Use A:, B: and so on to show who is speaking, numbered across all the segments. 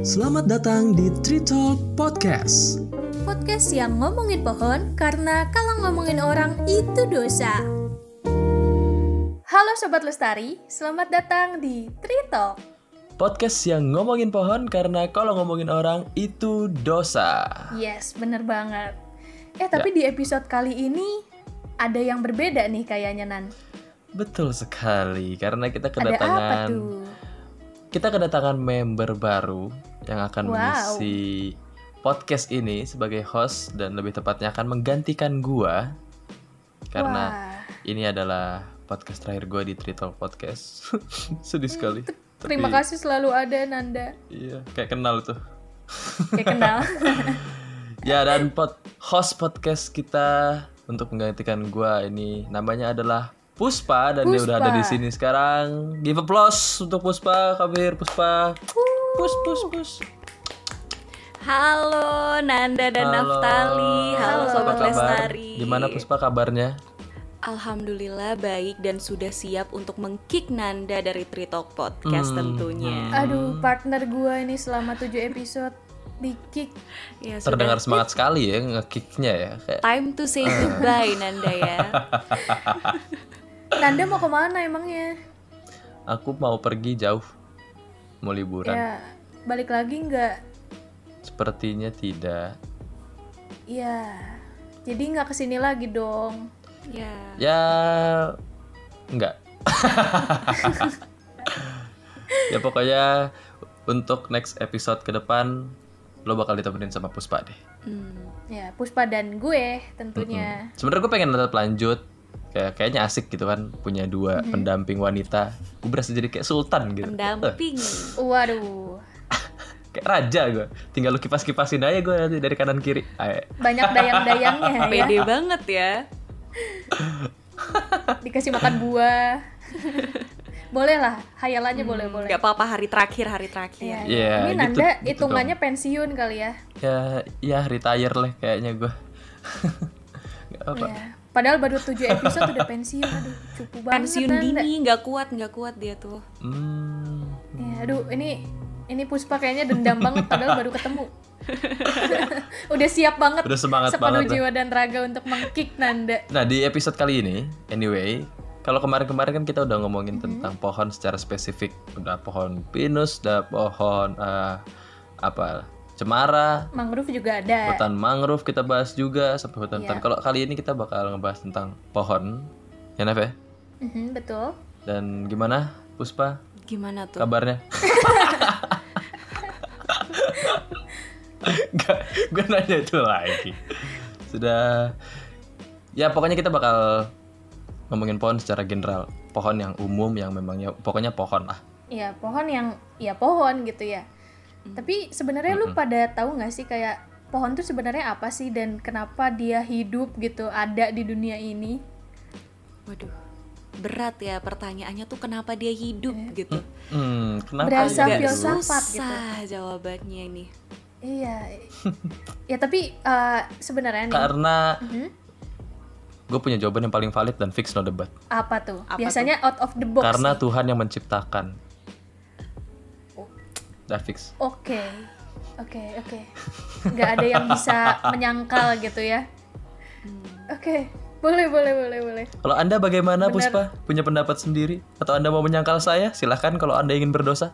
A: Selamat datang di Tree Talk Podcast.
B: podcast yang ngomongin pohon karena kalau ngomongin orang itu dosa. Halo Sobat Lestari, selamat datang di Trito.
A: Podcast yang ngomongin pohon karena kalau ngomongin orang itu dosa.
B: Yes, bener banget.
A: Ya.
B: Eh tapi di episode kali ini ada yang berbeda nih kayaknya Nan.
A: Betul sekali, karena kita
B: Ada apa
A: kedatangan
B: tuh?
A: kita kedatangan member baru yang akan
B: Wow.
A: mengisi podcast ini sebagai host dan lebih tepatnya akan menggantikan gua karena
B: Wah,
A: ini adalah podcast terakhir gua di Tree Talk Podcast. Sedih sekali.
B: Hmm, terima
A: Tapi-
B: kasih selalu ada Nanda.
A: Iya, kayak kenal tuh.
B: Kayak kenal.
A: Ya dan pod- host podcast kita untuk menggantikan gua ini namanya adalah Puspa dan dia udah
B: Puspa.
A: ada di sini sekarang. Give applause untuk Puspa, Kabir Puspa. Pus pus pus.
C: Halo Nanda dan Naftali, halo
A: apa
C: Sobat
A: kabar?
C: Lestari.
A: Gimana Puspa kabarnya?
C: Alhamdulillah baik dan sudah siap untuk mengkick Nanda dari Tree Talk Podcast
A: Hmm,
C: tentunya.
B: Aduh, partner gua ini selama 7 episode di kick.
C: Ya sudah
A: Terdengar semangat sekali ya ngekicknya ya kayak
C: time to say goodbye Nanda ya.
B: Nanda mau kemana emangnya?
A: aku mau pergi jauh mau liburan.
B: Ya, balik lagi nggak?
A: Sepertinya tidak.
B: Ya, jadi nggak kesini lagi dong.
C: Ya.
A: Ya enggak. ya pokoknya untuk next episode ke depan lo bakal ditemenin sama Puspa deh.
C: Hmm.
B: Ya, Puspa dan gue tentunya.
A: Sebenarnya gue pengen tetap lanjut. Kayak kayaknya asik gitu kan punya dua pendamping wanita. Gue berasa jadi kayak sultan gitu. Eh,
C: Pendamping.
B: Waduh,
A: Kayak raja gue. Tinggal lu kipas-kipasin aja gue nanti dari kanan kiri. Ah, Ayo.
B: banyak dayang-dayangnya ya.
C: Pede banget ya.
B: Dikasih makan buah. boleh lah, hayalannya
C: Hmm,
B: boleh boleh.
C: Gak apa-apa hari terakhir, hari
B: Ya,
C: terakhir.
A: Iya,
B: ini
A: gitu-
B: Nanda
A: gitu
B: hitungannya pensiun kali ya.
A: Ya ya retire lah kayaknya gue. Gak apa.
B: Iya. Padahal baru 7 episode udah pensiun, aduh cupu banget
C: Pensiun
B: Nanda.
C: Kan dini, nggak kuat, nggak kuat dia tuh.
A: Hmm.
B: Ya, aduh ini ini Puspa kayaknya dendam banget padahal baru ketemu. udah siap banget.
A: Udah semangat
B: sepenuh
A: banget.
B: jiwa dan raga untuk mengkick Nanda.
A: Nah di episode kali ini, anyway, kalau kemarin-kemarin kan kita udah ngomongin tentang pohon secara spesifik, udah pohon pinus, udah pohon eh, apa cemara,
B: Mangrove juga ada.
A: hutan mangrove kita bahas juga sampai hutan-hutan.
B: Iya.
A: Kalau kali ini kita bakal ngebahas tentang pohon, ya Naf ya?
B: Mhm, betul.
A: Dan gimana Puspa
C: Gimana tuh?
A: kabarnya? Gak, gue nanya itu lagi. Sudah, ya pokoknya kita bakal ngomongin pohon secara general. Pohon yang umum yang memang ya pokoknya pohon lah.
B: Ya pohon yang ya pohon gitu ya. Tapi sebenarnya lu pada tahu nggak sih kayak pohon tuh sebenarnya apa sih dan kenapa dia hidup gitu ada di dunia ini?
C: Waduh. Berat ya pertanyaannya tuh kenapa dia hidup
B: Iya.
C: gitu.
A: Hmm, kenapa?
B: Berasa
A: ya,
C: Agak
A: dulu?
B: filsafat. gitu.
C: susah jawabannya ini.
B: Iya. ya tapi eh, sebenarnya nih
A: Karena
B: mhm,
A: gue punya jawaban yang paling valid dan fix no debat.
B: apa tuh?
C: Apa
B: Biasanya out of the box.
A: Karena
B: nih.
A: Tuhan yang menciptakan.
B: Oh.
A: Udah fix.
B: Oke. Oke, oke. nggak ada yang bisa menyangkal gitu ya. Oke. Boleh, boleh, boleh, boleh.
A: Kalau Anda bagaimana
B: Bener.
A: Puspa? Punya pendapat sendiri? Atau Anda mau menyangkal saya? Silahkan kalau Anda ingin berdosa.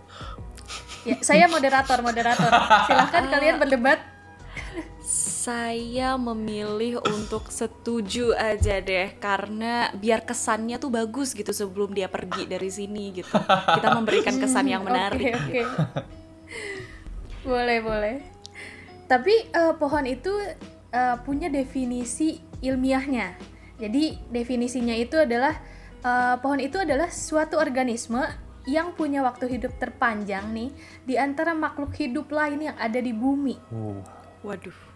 B: Ya, saya moderator, moderator. Silahkan kalian berdebat.
C: Saya memilih untuk setuju aja deh karena biar kesannya tuh bagus gitu sebelum dia pergi dari sini gitu. Kita memberikan kesan
B: Hmm,
C: yang menarik.
B: Oke, oke. boleh, boleh. Tapi eh, pohon itu eh, punya definisi ilmiahnya. Jadi definisinya itu adalah eh, pohon itu adalah suatu organisme yang punya waktu hidup terpanjang nih di antara makhluk hidup lain yang ada di bumi.
C: Waduh,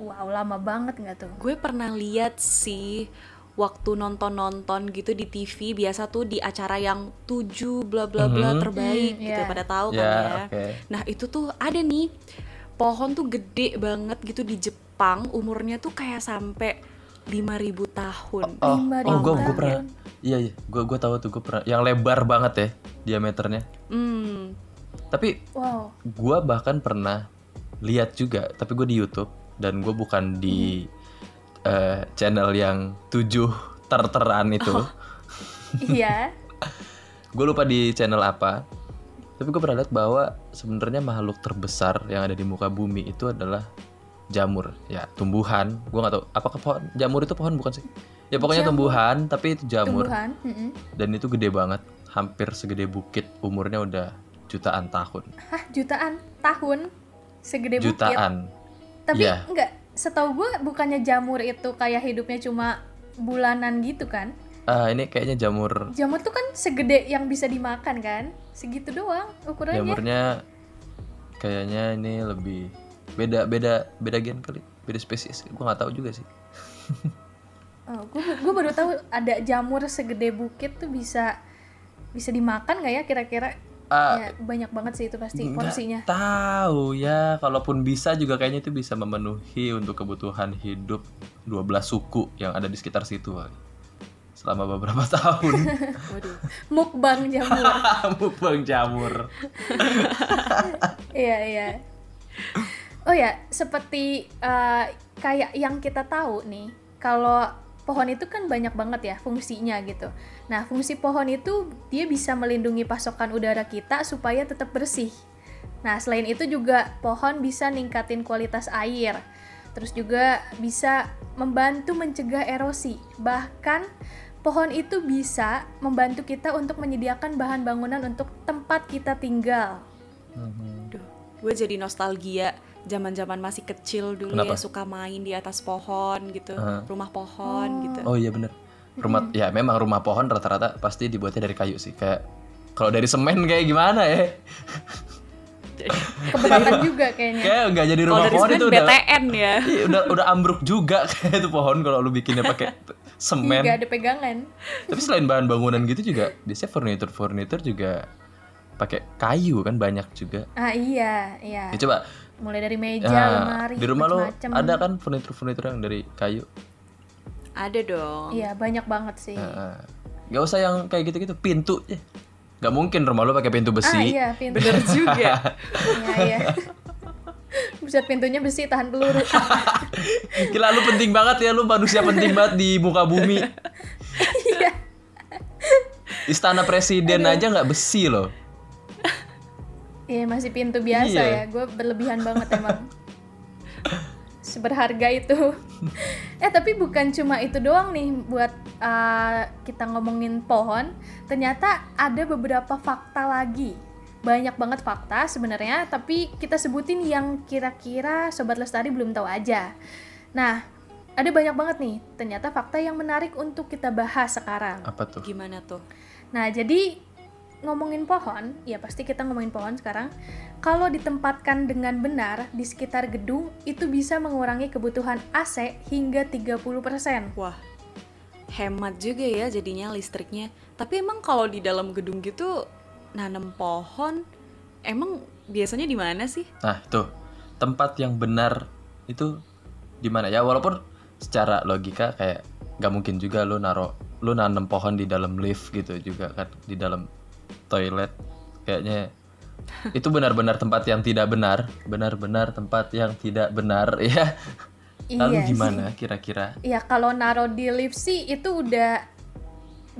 B: Wow, lama banget nggak tuh?
C: gue pernah lihat sih waktu nonton-nonton gitu di TV biasa tuh di acara yang 7 bla bla bla
A: Mhm.
C: terbaik
B: Hmm,
C: gitu
B: iya.
C: pada tahu
A: ya,
C: kan ya.
A: oke.
C: Nah itu tuh ada nih pohon tuh gede banget gitu di Jepang umurnya tuh kayak sampai 5000 tahun.
A: Oh,
B: Lima
A: oh gue
B: ribu
A: gue pernah.
B: tahun.
A: Iya, iya. Gue gue tahu tuh gue pernah yang lebar banget ya diameternya.
C: Hmm.
A: Tapi
B: Wow.
A: gue bahkan pernah lihat juga tapi gue di YouTube dan gue bukan di
B: Hmm.
A: eh, channel yang tujuh terteran itu
B: Iya.
A: gue lupa di channel apa tapi gue pernah lihat bahwa sebenarnya makhluk terbesar yang ada di muka bumi itu adalah jamur ya tumbuhan gue nggak tahu apakah pohon jamur itu pohon bukan sih ya pokoknya
B: Jamur.
A: tumbuhan tapi itu jamur
B: Tumbuhan. Mm-mm.
A: dan itu gede banget hampir segede bukit umurnya udah jutaan tahun
B: Hah, jutaan tahun segede bukit.
A: jutaan
B: Tapi
A: Iya.
B: enggak, setahu gue bukannya jamur itu kayak hidupnya cuma bulanan gitu kan?
A: ah ini kayaknya jamur
B: Jamur tuh kan segede yang bisa dimakan kan? Segitu doang ukurannya.
A: jamurnya kayaknya ini lebih beda beda beda gen kali beda spesies gue nggak tahu juga sih
B: Oh, gue gue baru tahu ada jamur segede bukit tuh bisa bisa dimakan nggak ya kira-kira?
A: ah
B: Ya, banyak banget sih itu pasti
A: nggak
B: porsinya.
A: tahu ya kalaupun bisa juga kayaknya itu bisa memenuhi untuk kebutuhan hidup 12 suku yang ada di sekitar situ kali. selama beberapa tahun
C: Waduh.
B: Mukbang jamur.
A: mukbang jamur
B: Iya iya. Oh ya, seperti eh, kayak yang kita tahu nih, kalau pohon itu kan banyak banget ya fungsinya gitu. Nah, fungsi pohon itu dia bisa melindungi pasokan udara kita supaya tetap bersih. Nah, selain itu juga pohon bisa ningkatin kualitas air. Terus juga bisa membantu mencegah erosi. Bahkan pohon itu bisa membantu kita untuk menyediakan bahan bangunan untuk tempat kita tinggal.
C: Duh, gue jadi nostalgia zaman-zaman masih kecil dulu
A: Kenapa?
C: ya suka main di atas pohon gitu,
A: Heeh.
C: rumah pohon gitu.
A: Oh iya bener Rumah ya memang rumah pohon rata-rata pasti dibuatnya dari kayu sih kayak kalau dari semen kayak gimana ya
B: keberatan juga kayaknya.
A: kayak nggak jadi
C: Kalau
A: rumah
C: dari
A: pohon
C: semen
A: itu udah
C: BTN ya.
A: Iya, udah udah ambruk juga kayak itu pohon kalau lu bikinnya pakai t- semen.
B: Nggak ada pegangan.
A: Tapi selain bahan bangunan gitu juga biasanya furniture furniture juga pakai kayu kan banyak juga.
B: Ah iya, iya.
A: Ya coba
B: Mulai dari meja,
A: ah,
B: lemari,
A: di rumah lu
B: macem-macem.
A: ada kan furniture furniture yang dari kayu?
C: Ada dong.
B: Iya, banyak banget sih.
A: Ah, Nggak usah yang kayak gitu-gitu pintu ya. Gak mungkin rumah lu pakai pintu
B: ah
A: besi.
B: iya, pintu.
C: Bener juga.
B: Iya, iya. Buset pintunya besi tahan peluru.
A: Gila lu penting banget ya lu manusia penting banget di muka bumi.
B: Iya.
A: Istana presiden aja nggak besi loh.
B: Iya, masih pintu biasa
A: Iya.
B: ya. Gue berlebihan banget emang. Seberharga itu. eh, tapi bukan cuma itu doang nih buat uh, kita ngomongin pohon. Ternyata ada beberapa fakta lagi. Banyak banget fakta sebenarnya, tapi kita sebutin yang kira-kira Sobat Lestari belum tahu aja. Nah, ada banyak banget nih ternyata fakta yang menarik untuk kita bahas sekarang.
A: Apa tuh?
C: Gimana tuh?
B: Nah, jadi ngomongin pohon, ya pasti kita ngomongin pohon sekarang. Kalau ditempatkan dengan benar di sekitar gedung, itu bisa mengurangi kebutuhan AC hingga 30%.
C: Wah. Hemat juga ya jadinya listriknya. Tapi emang kalau di dalam gedung gitu nanam pohon emang biasanya di mana sih?
A: Nah, tuh tempat yang benar itu di mana ya? Walaupun secara logika kayak nggak mungkin juga lu naro lu nanam pohon di dalam lift gitu juga kan di dalam toilet kayaknya itu benar-benar tempat yang tidak benar, benar-benar tempat yang tidak benar ya. Lalu
B: Iya
A: gimana kira-kira?
B: Ya kalau naro di lift sih itu udah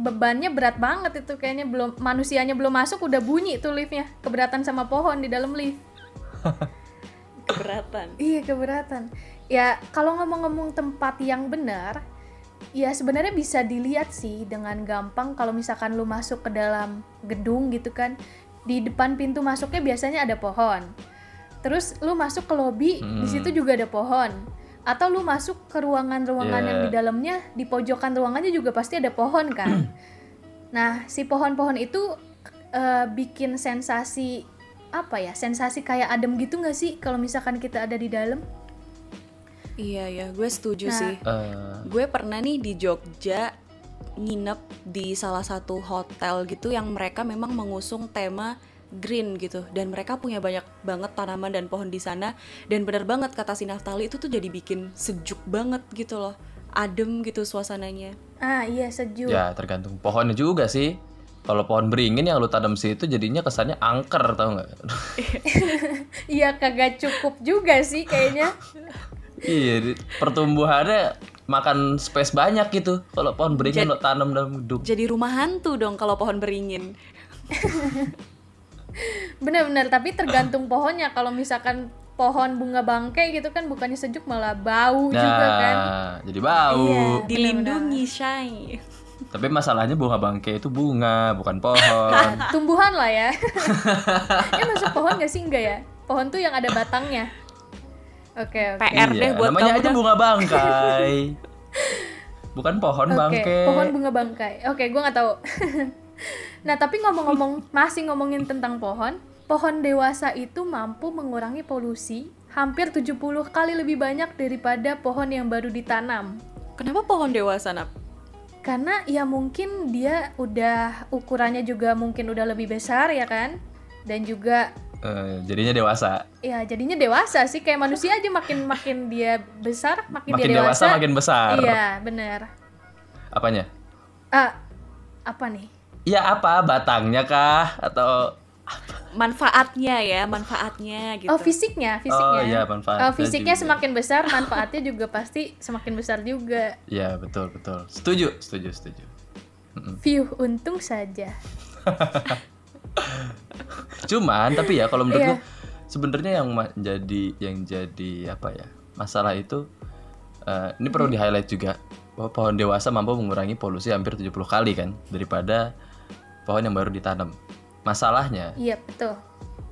B: bebannya berat banget itu kayaknya belum manusianya belum masuk udah bunyi tuh liftnya keberatan sama pohon di dalam lift.
C: Keberatan.
B: Iya keberatan. Ya kalau ngomong-ngomong tempat yang benar, ya sebenarnya bisa dilihat sih dengan gampang kalau misalkan lu masuk ke dalam gedung gitu kan, di depan pintu masuknya biasanya ada pohon. Terus lu masuk ke lobi,
A: Hmm.
B: di situ juga ada pohon. Atau lu masuk ke ruangan-ruangan yang
A: Yeah.
B: di dalamnya, di pojokan ruangannya juga pasti ada pohon kan. nah si pohon-pohon itu eh, bikin sensasi apa ya sensasi kayak adem gitu nggak sih kalau misalkan kita ada di dalam
C: Iya ya, gue setuju
B: Nah.
C: sih.
A: Eh,
C: Gue pernah nih di Jogja nginep di salah satu hotel gitu yang mereka memang mengusung tema green gitu dan mereka punya banyak banget tanaman dan pohon di sana dan bener banget kata si Naftali itu tuh jadi bikin sejuk banget gitu loh adem gitu suasananya
B: ah iya sejuk
A: ya tergantung pohonnya juga sih. Kalau pohon beringin yang lu tanam situ jadinya kesannya angker tau nggak?
B: Iya kagak cukup juga sih kayaknya.
A: iya, di- pertumbuhannya makan space banyak gitu. Kalau pohon beringin lu tanam dalam gedung.
C: Jadi rumah hantu dong kalau pohon beringin.
B: Benar-benar tapi tergantung pohonnya. Kalau misalkan pohon bunga bangkai gitu kan bukannya sejuk malah bau juga kan.
A: Nah, jadi bau.
B: Iya.
C: Dilindungi Shay.
A: Tapi masalahnya bunga bangke itu bunga, bukan pohon.
B: Tumbuhan lah ya. ya masuk pohon gak sih enggak ya? Pohon tuh yang ada batangnya. Oke, oke.
C: PR deh
A: Iya,
C: buat
A: namanya
C: kamu
A: aja
C: dah.
A: bunga bangkai. bukan pohon
B: Oke,
A: bangke.
B: pohon bunga bangkai. Oke, gua nggak tahu. nah, tapi ngomong-ngomong masih ngomongin tentang pohon, pohon dewasa itu mampu mengurangi polusi hampir 70 kali lebih banyak daripada pohon yang baru ditanam.
C: Kenapa pohon dewasa, Nap?
B: Karena ya mungkin dia udah ukurannya juga mungkin udah lebih besar ya kan? Dan juga
A: Eh, jadinya dewasa.
B: ya jadinya dewasa sih kayak manusia aja makin makin dia besar, makin,
A: Makin
B: dia
A: dewasa,
B: Iya, dewasa.
A: makin besar.
B: Iya, benar.
A: Apanya?
B: Ah, apa nih?
A: Ya apa? Batangnya kah? Atau
C: Manfaatnya ya, manfaatnya gitu.
B: Oh fisiknya, fisiknya.
A: Oh, iya, manfaatnya
B: Oh, fisiknya
A: juga.
B: semakin besar, manfaatnya juga pasti semakin besar juga.
A: ya betul betul. Setuju, setuju, setuju. Mm.
B: View untung saja.
A: Cuman tapi ya kalau menurut
B: Iya.
A: lu sebenarnya yang ma- jadi yang jadi apa ya? Masalah itu eh, ini perlu di-highlight juga bahwa pohon dewasa mampu mengurangi polusi hampir 70 kali kan daripada pohon yang baru ditanam. Masalahnya
B: Iya, betul.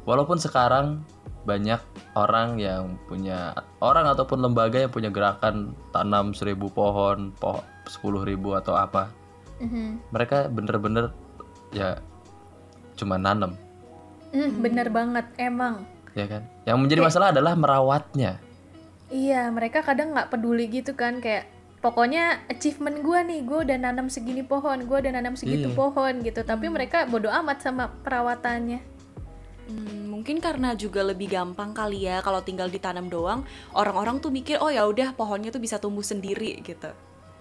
A: Walaupun sekarang banyak orang yang punya orang ataupun lembaga yang punya gerakan tanam 1000 pohon, po 10.000 atau apa.
B: Mhm.
A: Mereka bener-bener ya cuma nanam,
B: Mm, bener banget, emang.
A: ya kan? Yang menjadi masalah adalah merawatnya.
B: Iya, mereka kadang nggak peduli gitu kan kayak pokoknya achievement gua nih, gua udah nanam segini pohon, gua udah nanam segitu
A: Iya.
B: pohon gitu. Tapi mereka bodoh amat sama perawatannya.
C: Hmm, mungkin karena juga lebih gampang kali ya kalau tinggal ditanam doang, orang-orang tuh mikir oh ya udah pohonnya tuh bisa tumbuh sendiri gitu.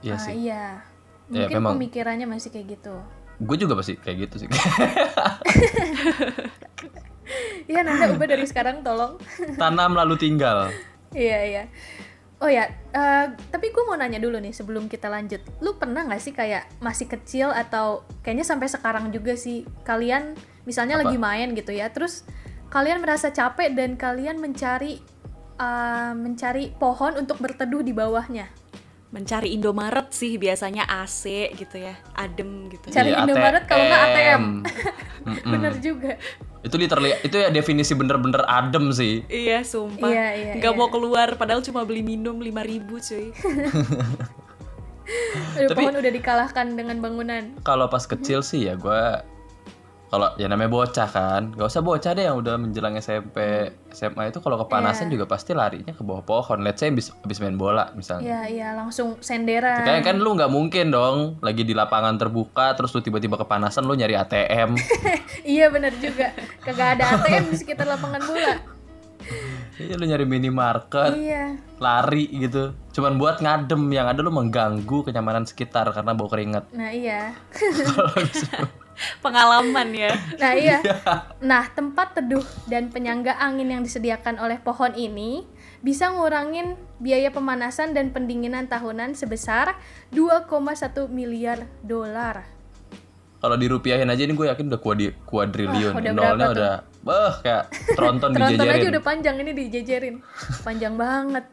A: Iya
B: Ah,
A: sih.
B: iya.
A: Ya,
B: Mungkin
A: memang.
B: pemikirannya masih kayak gitu.
A: Gue juga pasti kayak gitu sih.
B: Iya, Nanda ubah dari sekarang tolong.
A: tanam lalu tinggal.
B: Iya iya. Oh ya, eh, tapi gue mau nanya dulu nih sebelum kita lanjut. Lu pernah nggak sih kayak masih kecil atau kayaknya sampai sekarang juga sih kalian misalnya
A: Apa?
B: lagi main gitu ya, terus kalian merasa capek dan kalian mencari eh, mencari pohon untuk berteduh di bawahnya.
C: Mencari Indomaret sih biasanya AC gitu ya, adem gitu.
B: Cari
A: Iya,
B: Indomaret kalau nggak ATM.
A: Mm-mm.
B: Bener juga.
A: itu literally itu ya definisi bener-bener adem sih.
C: Iya sumpah,
B: Iya, iya,
C: nggak
B: iya.
C: mau keluar padahal cuma beli minum 5000 cuy.
B: Aduh,
A: Tapi-
B: pohon udah dikalahkan dengan bangunan.
A: kalau pas kecil sih ya gua kalau ya namanya bocah kan gak usah bocah deh yang udah menjelang SMP SMA itu kalau kepanasan
B: Iya.
A: juga pasti larinya ke bawah pohon let's say abis, abis main bola misalnya
B: Iya iya, langsung senderan.
A: Kayaknya kan lu nggak mungkin dong lagi di lapangan terbuka terus lu tiba-tiba kepanasan lu nyari ATM
B: iya bener juga. Kagak ada ATM di sekitar lapangan bola.
A: Iya lu nyari minimarket
B: Iya.
A: lari gitu cuman buat ngadem yang ada lu mengganggu kenyamanan sekitar karena bau keringat
B: Nah, iya.
C: Pengalaman ya.
B: Nah iya. Nah tempat teduh dan penyangga angin yang disediakan oleh pohon ini bisa ngurangin biaya pemanasan dan pendinginan tahunan sebesar 2,1 miliar dolar.
A: kalau dirupiahin aja ini gue yakin udah kuadi, kuadriliun
B: Wah, udah
A: nolnya
B: berapa tuh?
A: udah beh kayak tronton
B: Tronton aja
A: dijejerin
B: udah panjang ini dijejerin. Panjang banget.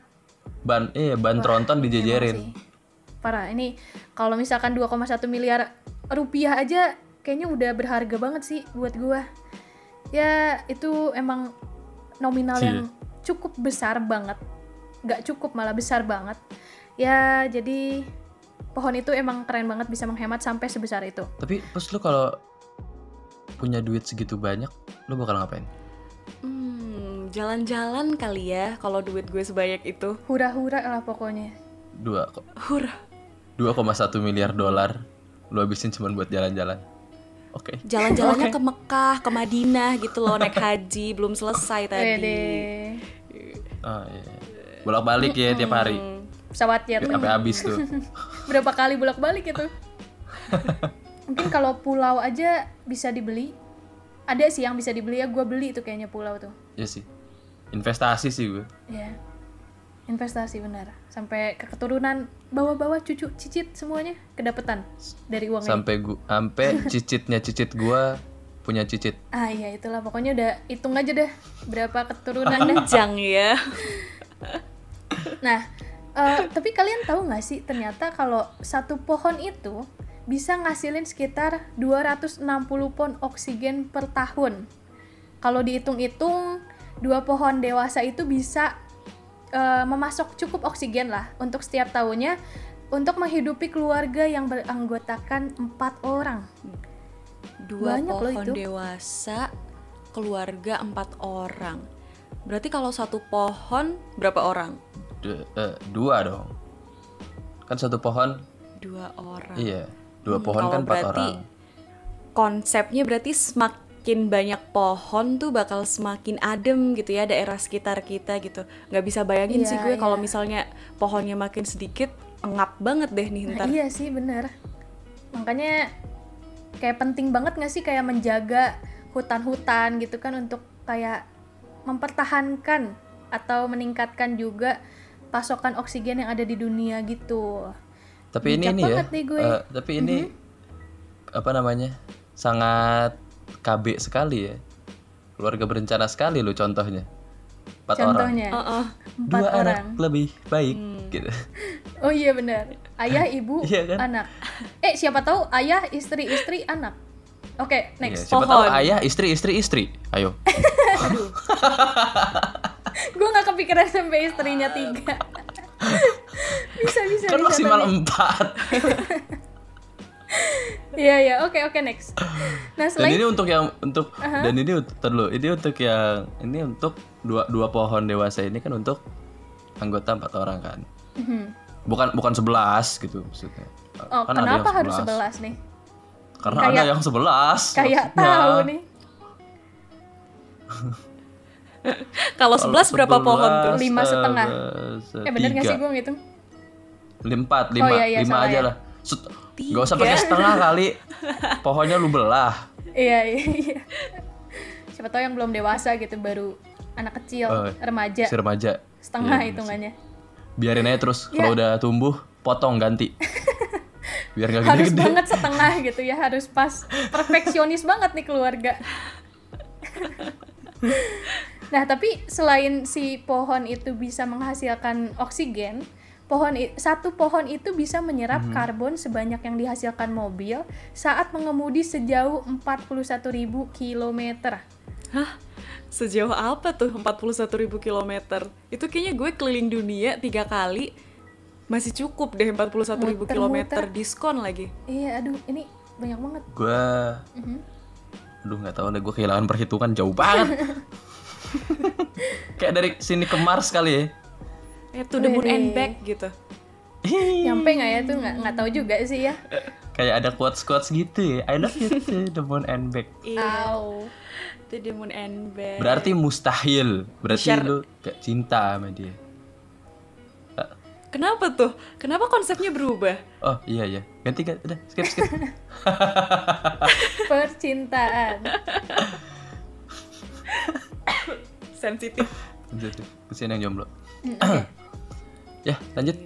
A: ban eh ban tronton dijejerin
B: Emang sih. Parah. Ini kalau misalkan 2,1 miliar rupiah aja kayaknya udah berharga banget sih buat gua. Ya itu emang
A: Iya.
B: nominal yang cukup besar banget. Nggak cukup malah besar banget. Ya jadi pohon itu emang keren banget bisa menghemat sampai sebesar itu.
A: Tapi terus lu kalau punya duit segitu banyak, lu bakal ngapain?
C: Hmm, jalan-jalan kali ya kalau duit gue sebanyak itu.
B: Hura-hura lah pokoknya.
A: Dua ko-
C: Hurah.
A: 2,1 miliar dolar lu habisin cuma buat jalan-jalan. Oke.
C: Jalan-jalannya ke Mekah, ke Madinah gitu loh naik haji belum selesai
B: Wede.
C: tadi.
A: Ah, iya. Bolak-balik ya tiap hari. Iya.
B: Pesawat jet.
A: Sampai habis tuh.
B: Berapa kali bolak-balik itu? mungkin kalau pulau aja bisa dibeli ada sih yang bisa dibeli ya gue beli tuh kayaknya pulau tuh
A: ya sih investasi sih gue
B: ya investasi benar sampai ke keturunan bawah-bawah cucu cicit semuanya kedapetan dari uang ini.
A: sampai gua sampai cicitnya cicit gua punya cicit
B: ah iya itulah pokoknya udah hitung aja deh berapa keturunan
C: Jang ya.
B: Nah, eh, tapi kalian tahu nggak sih ternyata kalau satu pohon itu bisa ngasilin sekitar 260 pon oksigen per tahun. Kalau dihitung-hitung, dua pohon dewasa itu bisa eh, memasok cukup oksigen lah untuk setiap tahunnya untuk menghidupi keluarga yang beranggotakan empat orang.
C: Dua
B: Banyak loh
C: pohon
B: itu.
C: dewasa, keluarga empat orang. Berarti kalau satu pohon berapa orang?
A: Du- eh, dua dong kan satu pohon
B: Nah.
C: Dua orang.
A: iya dua
C: Hmm,
A: pohon
C: kalau
A: kan empat
C: berarti
A: orang
C: Konsepnya berarti semakin banyak pohon tuh bakal semakin adem gitu ya daerah sekitar kita gitu. Nggak bisa bayangin
B: Iya,
C: sih gue kalau
B: iya.
C: misalnya pohonnya makin sedikit engap banget deh nih
B: Nah,
C: ntar.
B: iya sih bener. Makanya kayak penting banget nggak sih kayak menjaga hutan-hutan gitu kan untuk kayak mempertahankan atau meningkatkan juga pasokan oksigen yang ada di dunia gitu.
A: tapi ini
B: bijak
A: ini ya
B: banget nih gue. Mhm.
A: eh, tapi ini apa namanya sangat KB sekali ya keluarga berencana sekali lo contohnya empat orang
B: Contohnya
C: Heeh.
B: empat
A: dua anak
B: orang. Hmm.
A: lebih baik gitu
B: Oh iya benar. Ayah, ibu,
A: Iya kan?
B: anak. Eh siapa tahu ayah, istri, istri, anak. Oke,
A: Iya,
B: next.
A: siapa tahu
C: Pohon.
A: ayah istri istri istri ayo
B: Gue nggak kepikiran sampai istrinya tiga. bisa bisa.
A: kan
B: bisa,
A: maksimal
B: tapi-
A: empat
B: Iya iya, oke oke next. Nah
A: dan
B: selain
A: ini untuk yang untuk dan ini untuk ntar dulu, ini untuk yang ini untuk dua dua pohon dewasa ini kan untuk anggota empat orang kan
B: Mhm.
A: bukan bukan sebelas gitu maksudnya
B: oh
A: Kan ada yang
B: kenapa harus 11 nih?
A: karena ada
B: Kayak-
A: yang sebelas
B: Kayak
A: maksudnya.
B: tahu nih.
C: Kalau 11 berapa pohon tuh?
A: Sebelas,
B: Lima setengah.
A: eh,
B: Eh bener nggak sih
A: tiga
B: gue ngitung?
A: empat lima
B: iya, iya,
A: lima
B: salah
A: aja
B: ya.
A: lah Set- Gak usah pakai setengah kali pohonnya lu belah
B: Iya iya. iya. Siapa tahu yang belum dewasa gitu baru anak kecil,
A: Oh,
B: remaja,
A: si remaja
B: setengah
A: Iya,
B: hitungannya.
A: biarin aja terus kalau
B: Ya.
A: udah tumbuh potong ganti biar nggak
B: Harus
A: gede-gede
B: banget setengah gitu ya, harus pas. Perfeksionis banget nih keluarga. Nah, tapi selain si pohon itu bisa menghasilkan oksigen, pohon i- satu pohon itu bisa menyerap karbon sebanyak yang dihasilkan mobil saat mengemudi sejauh 41.000 km.
C: Hah? Sejauh apa tuh 41.000 km? Itu kayaknya gue keliling dunia tiga kali masih cukup deh 41.000 km
B: Muter-muter.
C: diskon lagi.
B: Iya, aduh, ini banyak banget.
A: gue
B: Mhm.
A: aduh nggak tahu deh gue kehilangan perhitungan jauh banget kayak dari sini ke Mars kali ya
C: Eh to the moon
B: Wede.
C: and back gitu.
B: Nyampe nggak ya tuh nggak nggak tahu juga sih ya.
A: kayak ada quotes quotes gitu ya I love you to the moon and back
B: Ah. Au.
C: Iya, To the moon and back.
A: berarti mustahil berarti
C: Share.
A: lu gak cinta sama dia
C: Kenapa tuh? Kenapa konsepnya berubah?
A: oh iya iya ganti ganti udah skip skip
B: Percintaan.
C: Sensitif.
A: Lanjut, kesini yang jomblo
B: Hmm, oke.
A: ya lanjut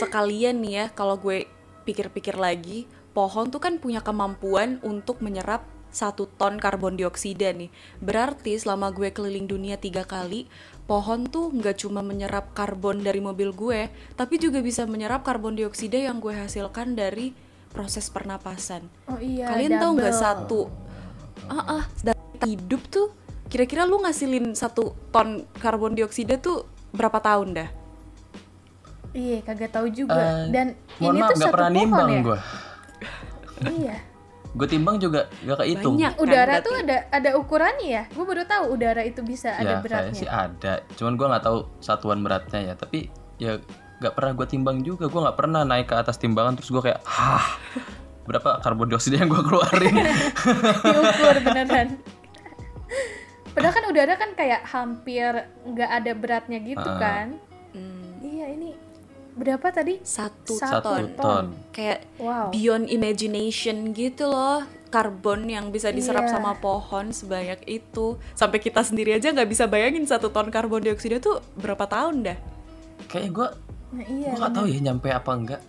C: Sekalian nih ya kalau gue pikir-pikir lagi, pohon tuh kan punya kemampuan untuk menyerap satu ton karbon dioksida nih. Berarti selama gue keliling dunia tiga kali, pohon tuh nggak cuma menyerap karbon dari mobil gue, tapi juga bisa menyerap karbon dioksida yang gue hasilkan dari proses pernapasan.
B: Oh iya.
C: Kalian tahu nggak
B: double.
C: satu? Ah, ah, dari kita hidup tuh kira-kira lu ngasilin satu ton karbon dioksida tuh berapa tahun dah?
B: Iya, kagak tahu juga.
A: Eh,
B: Dan
A: mohon
B: ini
A: maaf
B: tuh
A: nggak
B: satu
A: pernah
B: pohon
A: nimbang
B: ya.
A: gue
B: Iya.
A: gue timbang juga gak kehitung
C: Banyak kan
B: Udara
C: berarti?
B: tuh ada ada ukurannya ya. Gue baru tahu udara itu bisa
A: ya
B: ada
A: kayaknya sih
B: beratnya.
A: ada cuman gua nggak tahu satuan beratnya ya tapi ya nggak pernah gue timbang juga gua nggak pernah naik ke atas timbangan terus gua kayak hah berapa karbon dioksida yang gua keluarin
B: Diukur beneran. Padahal kan udara kan kayak hampir nggak ada beratnya gitu
A: Ah.
B: kan.
C: Hmm.
B: Iya ini berapa tadi?
C: satu,
A: satu
B: Satu
C: ton.
B: ton.
A: ton.
C: Kayak
B: Wow.
C: beyond imagination gitu loh karbon yang bisa diserap
B: Iya.
C: sama pohon sebanyak itu sampai kita sendiri aja nggak bisa bayangin satu ton karbon dioksida tuh berapa tahun dah
A: Kayaknya gue
B: Nah, iya.
A: gue nggak tahu ya nyampe apa enggak.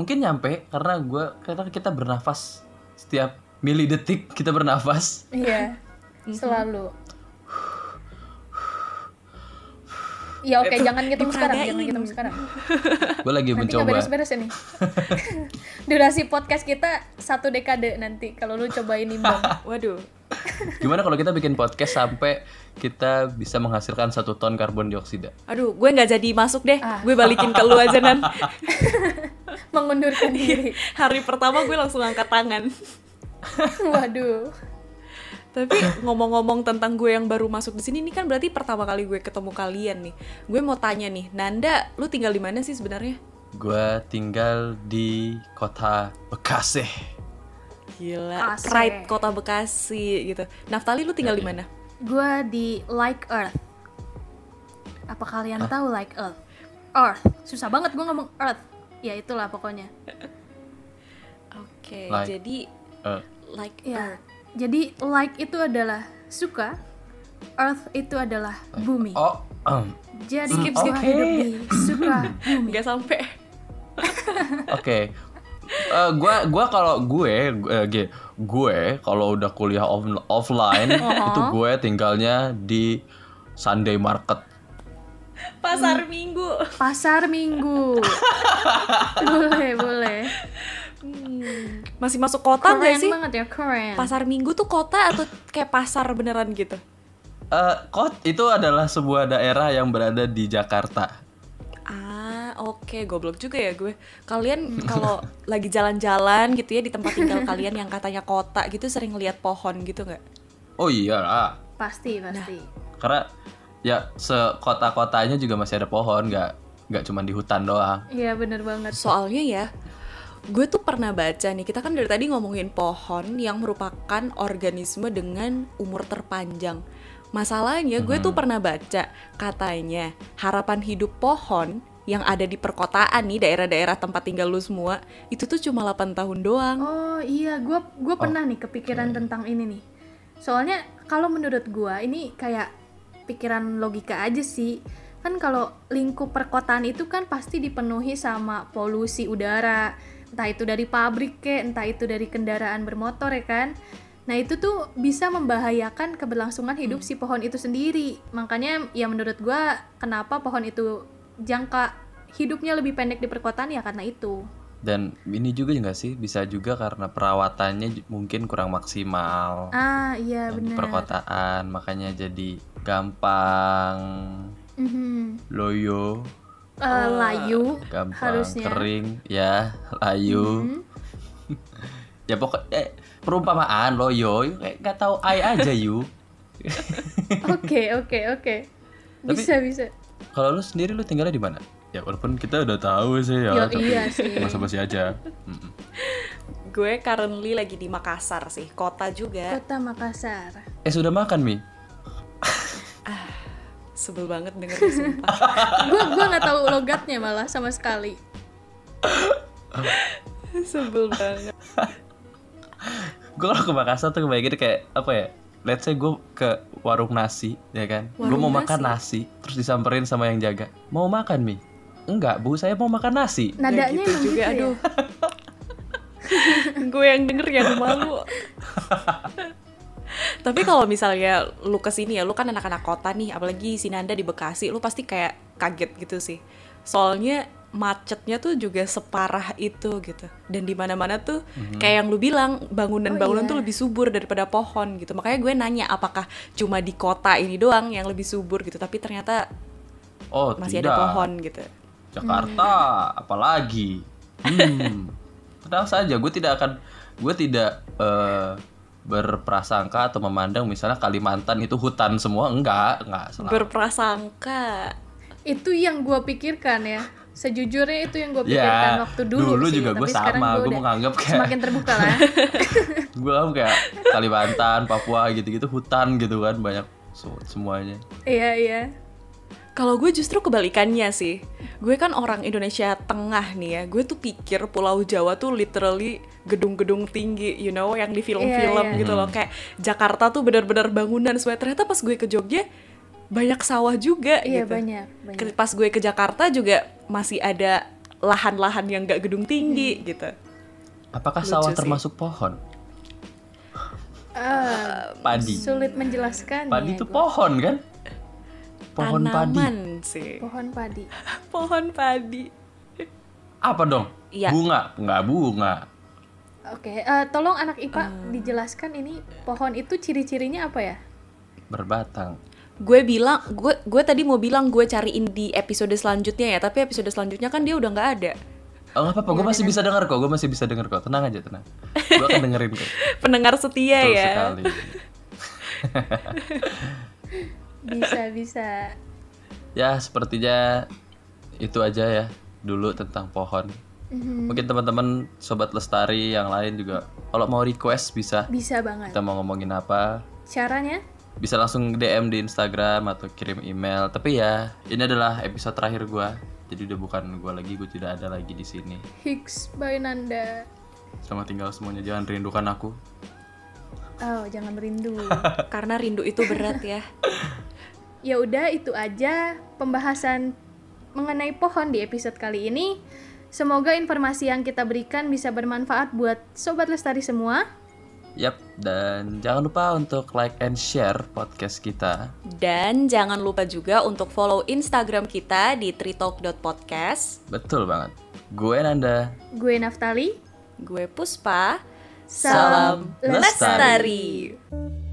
A: Mungkin nyampe karena gue karena kita bernafas setiap mili detik kita bernafas.
B: Iya, selalu. Ya oke,
C: Itu
B: jangan ngitung sekarang, jangan
C: diperagain.
B: ngitung sekarang.
A: Gue lagi
B: Nanti nggak
A: mencoba.
B: beres-beres ini. Durasi podcast kita satu dekade nanti kalau lu cobain nimbang.
C: waduh
A: Gimana kalau kita bikin podcast sampai kita bisa menghasilkan satu ton karbon dioksida?
C: aduh gue nggak jadi masuk deh gue balikin ke lu aja nan
B: Mengundurkan diri.
C: hari pertama gue langsung angkat tangan
B: Iya. Waduh.
C: tapi ngomong-ngomong tentang gue yang baru masuk di sini ini kan berarti pertama kali gue ketemu kalian nih gue mau tanya nih Nanda lu tinggal di mana sih sebenarnya
A: Gue tinggal di kota Bekasi.
C: gila
B: Asik.
C: pride kota Bekasi gitu Naftali lu tinggal di mana
B: Gua di Like Earth. Apa kalian tahu Like Earth? Earth. Susah banget gua ngomong Earth. Ya itulah pokoknya.
C: Oke,
A: Like.
C: jadi
A: Eh,
C: like
B: Ya.
C: Earth.
B: Jadi like itu adalah suka, earth itu adalah bumi.
A: oh, em,
B: Jadi
A: Skip,
B: skip,
A: skip.
B: hidup di suka bumi.
C: nggak sampai.
A: Oke. Eh, gua gua kalau gue eh, G, gue kalau udah kuliah off- offline itu gue tinggalnya di Sunday Market.
C: Pasar Minggu.
B: Pasar Minggu. boleh, boleh.
C: Masih masuk kota nggak
B: Keren
C: sih?
B: banget ya, keren.
C: Pasar Minggu tuh kota atau kayak pasar beneran gitu?
A: Eh, kot itu adalah sebuah daerah yang berada di Jakarta.
C: Ah, oke, Hmm. goblok juga ya gue. Kalian kalau lagi jalan-jalan gitu ya di tempat tinggal kalian yang katanya kota gitu sering lihat pohon gitu nggak?
A: Oh iya lah.
B: Pasti, pasti.
A: Karena ya sekota-kotanya juga masih ada pohon, nggak nggak cuma di hutan doang.
B: Iya, bener banget.
C: Soalnya ya, gue tuh pernah baca nih, kita kan dari tadi ngomongin pohon yang merupakan organisme dengan umur terpanjang. Masalahnya gue tuh pernah baca, katanya harapan hidup pohon yang ada di perkotaan nih, daerah-daerah tempat tinggal lu semua, itu tuh cuma 8 tahun doang.
B: Oh iya, gue gua pernah nih kepikiran tentang ini nih. Soalnya kalau menurut gue ini kayak pikiran logika aja sih. Kan kalau lingkup perkotaan itu kan pasti dipenuhi sama polusi udara, entah itu dari pabrik ke, entah itu dari kendaraan bermotor ya kan. Nah itu tuh bisa membahayakan keberlangsungan hidup si pohon itu sendiri. Makanya ya menurut gue kenapa pohon itu jangka hidupnya lebih pendek di perkotaan ya karena itu.
A: Dan ini juga nggak sih bisa juga karena perawatannya j- mungkin kurang maksimal.
B: Ah iya
A: yang di
B: benar.
A: perkotaan makanya jadi gampang
B: Mhm.
A: loyo
B: Eh, layu
A: gampang
B: harusnya.
A: kering ya layu
B: Mhm.
A: ya pokoknya eh, perumpamaan loyo yuk, kayak nggak tahu ai aja yu
B: Oke oke oke.
A: Tapi-
B: Bisa bisa.
A: kalau lu sendiri lu tinggalnya di mana ya walaupun kita udah tahu sih ya
B: Yo,
A: tapi
B: iya sih.
A: masa masih aja Mm-mm.
C: Gue currently lagi di Makassar sih, kota juga.
B: Kota Makassar.
A: eh sudah makan mi
C: Sebel banget dengernya sumpah.
B: Gue gua nggak tahu logatnya malah sama sekali.
C: Sebel banget.
A: gue kalau ke Makassar tuh kebayangin kayak apa ya let's say gue ke warung nasi ya kan gue mau
C: Warung
A: makan nasi terus disamperin sama yang jaga mau makan mi enggak bu saya mau makan nasi
B: Nadanya
C: gitu
B: emang
C: juga,
B: gitu ya?
C: aduh. gue yang denger ya gue malu tapi kalau misalnya lu kesini ya lu kan anak-anak kota nih apalagi Sinanda di Bekasi lu pasti kayak kaget gitu sih soalnya macetnya tuh juga separah itu gitu dan di mana-mana tuh kayak yang lu bilang bangunan-bangunan
B: Oh, iya.
C: tuh lebih subur daripada pohon gitu makanya gue nanya apakah cuma di kota ini doang yang lebih subur gitu tapi ternyata
A: Oh,
C: masih
A: tidak.
C: ada pohon gitu
A: Jakarta, apalagi. Hmm. Tenang saja, gue tidak akan gue tidak eh, berprasangka atau memandang misalnya Kalimantan itu hutan semua enggak, enggak salah.
C: berprasangka
B: Itu yang gue pikirkan ya. Sejujurnya itu yang gue pikirkan
A: ya,
B: waktu dulu. sih,
A: juga gue
B: tapi sekarang
A: sama,
B: gua
A: gue
B: udah
A: menganggap kayak
B: Semakin terbuka lah.
A: gue anggap kayak Kalimantan, Papua gitu-gitu hutan gitu kan banyak so- semuanya.
B: iya iya.
C: Kalau gue justru kebalikannya sih. Gue kan orang Indonesia tengah nih ya. Gue tuh pikir Pulau Jawa tuh literally gedung-gedung tinggi, you know, yang di film-film
B: Iya, iya.
C: gitu loh.
A: Hmm.
C: Kayak Jakarta tuh benar-benar bangunan. Soalnya ternyata pas gue ke Jogja banyak sawah juga
B: Iya
C: gitu.
B: banyak, banyak.
C: Ke- Pas gue ke Jakarta juga masih ada lahan-lahan yang gak gedung tinggi
B: Hmm.
C: gitu.
A: Apakah
C: Lucu
A: sawah
C: sih.
A: termasuk pohon?
B: Ah,
A: Padi.
B: sulit menjelaskan.
A: Padi
B: ya
A: itu
B: gua. pohon.
A: pohon kan? Pohon padi.
C: Tanaman sih.
B: padi.
C: Pohon padi.
A: Apa dong?
C: Iya.
A: Bunga? Enggak bunga.
B: Oke, eh, tolong anak IPA dijelaskan ini pohon itu ciri-cirinya apa ya?
A: Berbatang.
C: gue bilang gue gue tadi mau bilang gue cariin di episode selanjutnya ya tapi episode selanjutnya kan dia udah nggak ada
A: Oh, nggak apa-apa,
C: Iya,
A: gue masih bisa dengar kok, gue masih bisa dengar kok. Tenang aja, tenang. Gue akan dengerin kok.
C: Iya, pendengar setia
A: Betul
C: ya
A: sekali.
B: Bisa bisa.
A: Ya, sepertinya itu aja ya dulu tentang pohon.
B: Mhm,
A: Mungkin teman-teman sobat lestari yang lain juga kalau mau request bisa
B: Bisa banget.
A: kita mau ngomongin apa
B: Caranya?
A: bisa langsung DM di Instagram atau kirim email. Tapi ya, ini adalah episode terakhir gua. Jadi udah bukan gua lagi, gue tidak ada lagi di sini.
B: Higgs by Nanda.
A: Selamat tinggal semuanya, jangan rindukan aku.
B: Oh, jangan merindu.
C: karena rindu itu berat ya
B: ya udah itu aja pembahasan mengenai pohon di episode kali ini. Semoga informasi yang kita berikan bisa bermanfaat buat sobat lestari semua.
A: Yap, dan jangan lupa untuk like and share podcast kita.
C: dan jangan lupa juga untuk follow Instagram kita di tritalk.podcast
A: Betul banget. Gue Nanda.
B: Gue Naftali.
C: gue Puspa
B: Salam
A: lestari.
C: lestari.